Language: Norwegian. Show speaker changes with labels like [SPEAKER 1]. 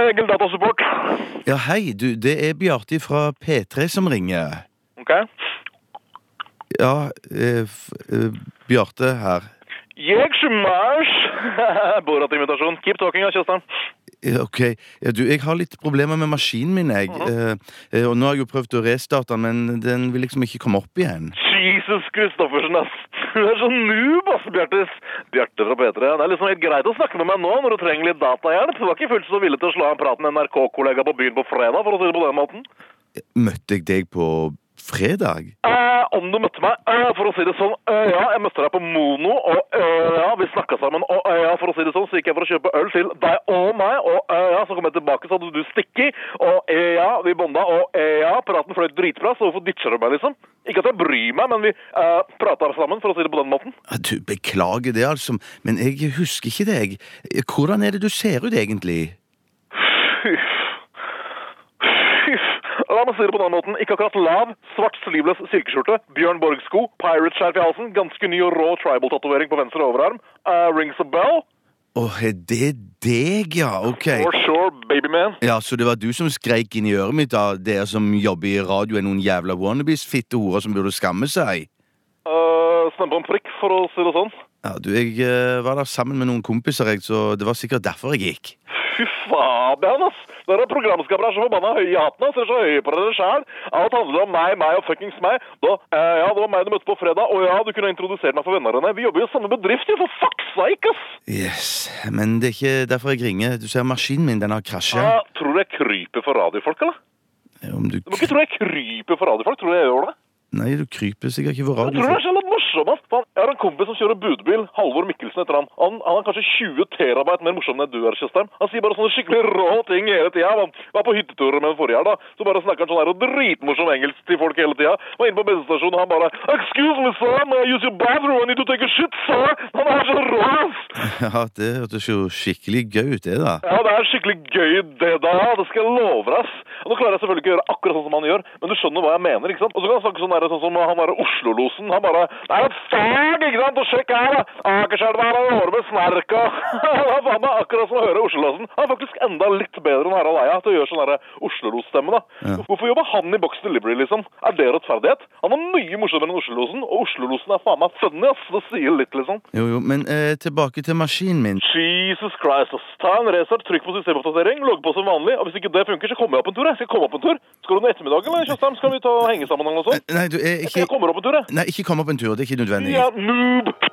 [SPEAKER 1] Egil Datasupport.
[SPEAKER 2] Ja, hei, du, det er Bjarte fra P3 som ringer.
[SPEAKER 1] Ok.
[SPEAKER 2] Ja, eh, f- eh, Bjarte her.
[SPEAKER 1] Jeg smash! Borat-imitasjon. Keep talking, ja, Kjøstheim.
[SPEAKER 2] Ja, Ok, ja, du, jeg har litt problemer med maskinen min, jeg. Eh, eh, og nå har jeg jo prøvd å restarte den, men den vil liksom ikke komme opp igjen.
[SPEAKER 1] Jesus Kristoffersen, ass. Du er så noob, ass, Bjartis. Bjarte fra P3. Det er liksom helt greit å snakke med meg nå når du trenger litt datahjelp. Du var ikke fullt så villig til å slå av en prat med en NRK-kollega på byen på fredag, for å si det på den måten.
[SPEAKER 2] Møtte jeg deg på fredag?
[SPEAKER 1] Eh, om du møtte meg, eh, for å si det sånn, eh, ja, jeg møtte deg på Mono, og eh, ja, vi snakket sammen, og eh, ja, for å si det sånn, så gikk jeg for å kjøpe øl til deg og meg, og eh, ja, så kom jeg tilbake, så hadde du stikki, og eh, ja, vi bonda, og eh, ja, praten fløy dritbra, så hvorfor ditcher du meg, liksom? Ikke at jeg bryr meg, men vi eh, pratet sammen, for å si det på den måten.
[SPEAKER 2] Ja, Du, beklager det, altså, men jeg husker ikke deg. Eh, Hvordan er det du ser ut, egentlig?
[SPEAKER 1] Fyff. Fyff. La meg si det på den måten. Ikke akkurat lav, svart sleeveless silkeskjorte, Bjørn Borg-sko, pirate-skjerf i halsen, ganske ny og rå tribal-tatovering på venstre overarm, eh, rings a bell,
[SPEAKER 2] Åh, er det deg, ja? Ok.
[SPEAKER 1] For sure, babyman.
[SPEAKER 2] Ja, så det var du som skreik inn i øret mitt da, dere som jobber i radio er noen jævla wannabes, fitte horer som burde skamme seg.
[SPEAKER 1] Uh, Stempe om prikk, for å si det sånn.
[SPEAKER 2] Ja, du, jeg eh, var der sammen med noen kompiser, jeg, så det var sikkert derfor jeg gikk.
[SPEAKER 1] Fy faen, ass! Dere programskapere er så forbanna høye i hatten, ass. Dere er så høye på dere sjæl. Alt handler om meg, meg og fuckings meg. Da, eh, ja, det var meg du møtte på fredag, og ja, du kunne ha introdusert meg for vennene dine. Vi jobber jo i samme bedrift, jo, for fuck's sake, ass!
[SPEAKER 2] Yes, men det er ikke derfor jeg ringer. Du ser maskinen min, den har krasja.
[SPEAKER 1] Eh, tror du jeg kryper for radiofolk, eller? Ah.
[SPEAKER 2] Eh, Om du
[SPEAKER 1] Du må ikke tro jeg kryper for radiofolk. Tror du jeg gjør det?
[SPEAKER 2] Nei, du kryper sikkert ikke for
[SPEAKER 1] Jeg tror du er
[SPEAKER 2] radio.
[SPEAKER 1] så jævla morsom, ass. Faen, Jeg har en kompis som kjører budbil, Halvor Mikkelsen heter han. Han, han er kanskje 20 terabyte mer morsom enn du er, Tjøstheim. Han sier bare sånne skikkelig rå ting hele tida. Han var på hytteturer med den forrige her, da. Så bare snakker han sånn her og dritmorsom engelsk til folk hele tida. Var inne på bensinstasjonen, og han bare Excuse me, sir, may I use your bathroom? I need to take a shit, sir. Han er så rå, ass.
[SPEAKER 2] Ja, det hørtes jo skikkelig gøy ut, det, da.
[SPEAKER 1] Ja, det er skikkelig gøy det da, det skal jeg love deg, ass. Og Nå klarer jeg selvfølgelig ikke å gjøre akkurat sånn som han gjør, men du skjønner hva jeg mener, ikke sant? Og så kan han snakke sånn, der, sånn som han derre Oslo-losen, han bare Nei, men fag, ikke sant? Og sjekk her, da! Akerselva her, han håret med snerka! Det er faen meg akkurat som å høre Oslo-losen. Han er faktisk enda litt bedre enn Harald Eia til å gjøre sånn derre Oslo-los-stemme, da.
[SPEAKER 2] Ja.
[SPEAKER 1] Hvorfor jobber han i Box Delivery, liksom? Er det rettferdighet? Han er mye morsommere enn Oslo-losen, og Oslo-losen er faen meg funny, ass. Det sier litt, liksom.
[SPEAKER 2] Jo, jo, men eh, tilbake til maskinen min.
[SPEAKER 1] Jesus Christ, ass. Ta en restart, trykk på systemoppdatering, logg på som vanlig. Og hvis ikke det funker, så kommer jeg opp en tur. jeg. Skal jeg komme opp en tur? Skal du ned i ettermiddag, eller, Tjøstheim? Skal vi ta og henge sammen eller noe sånt?
[SPEAKER 2] Eh, Nei, du er
[SPEAKER 1] Jeg
[SPEAKER 2] ikke
[SPEAKER 1] kommer opp en tur, jeg.
[SPEAKER 2] Nei, ikke kom opp en tur. Det er ikke nødvendig.
[SPEAKER 1] Ja, noob!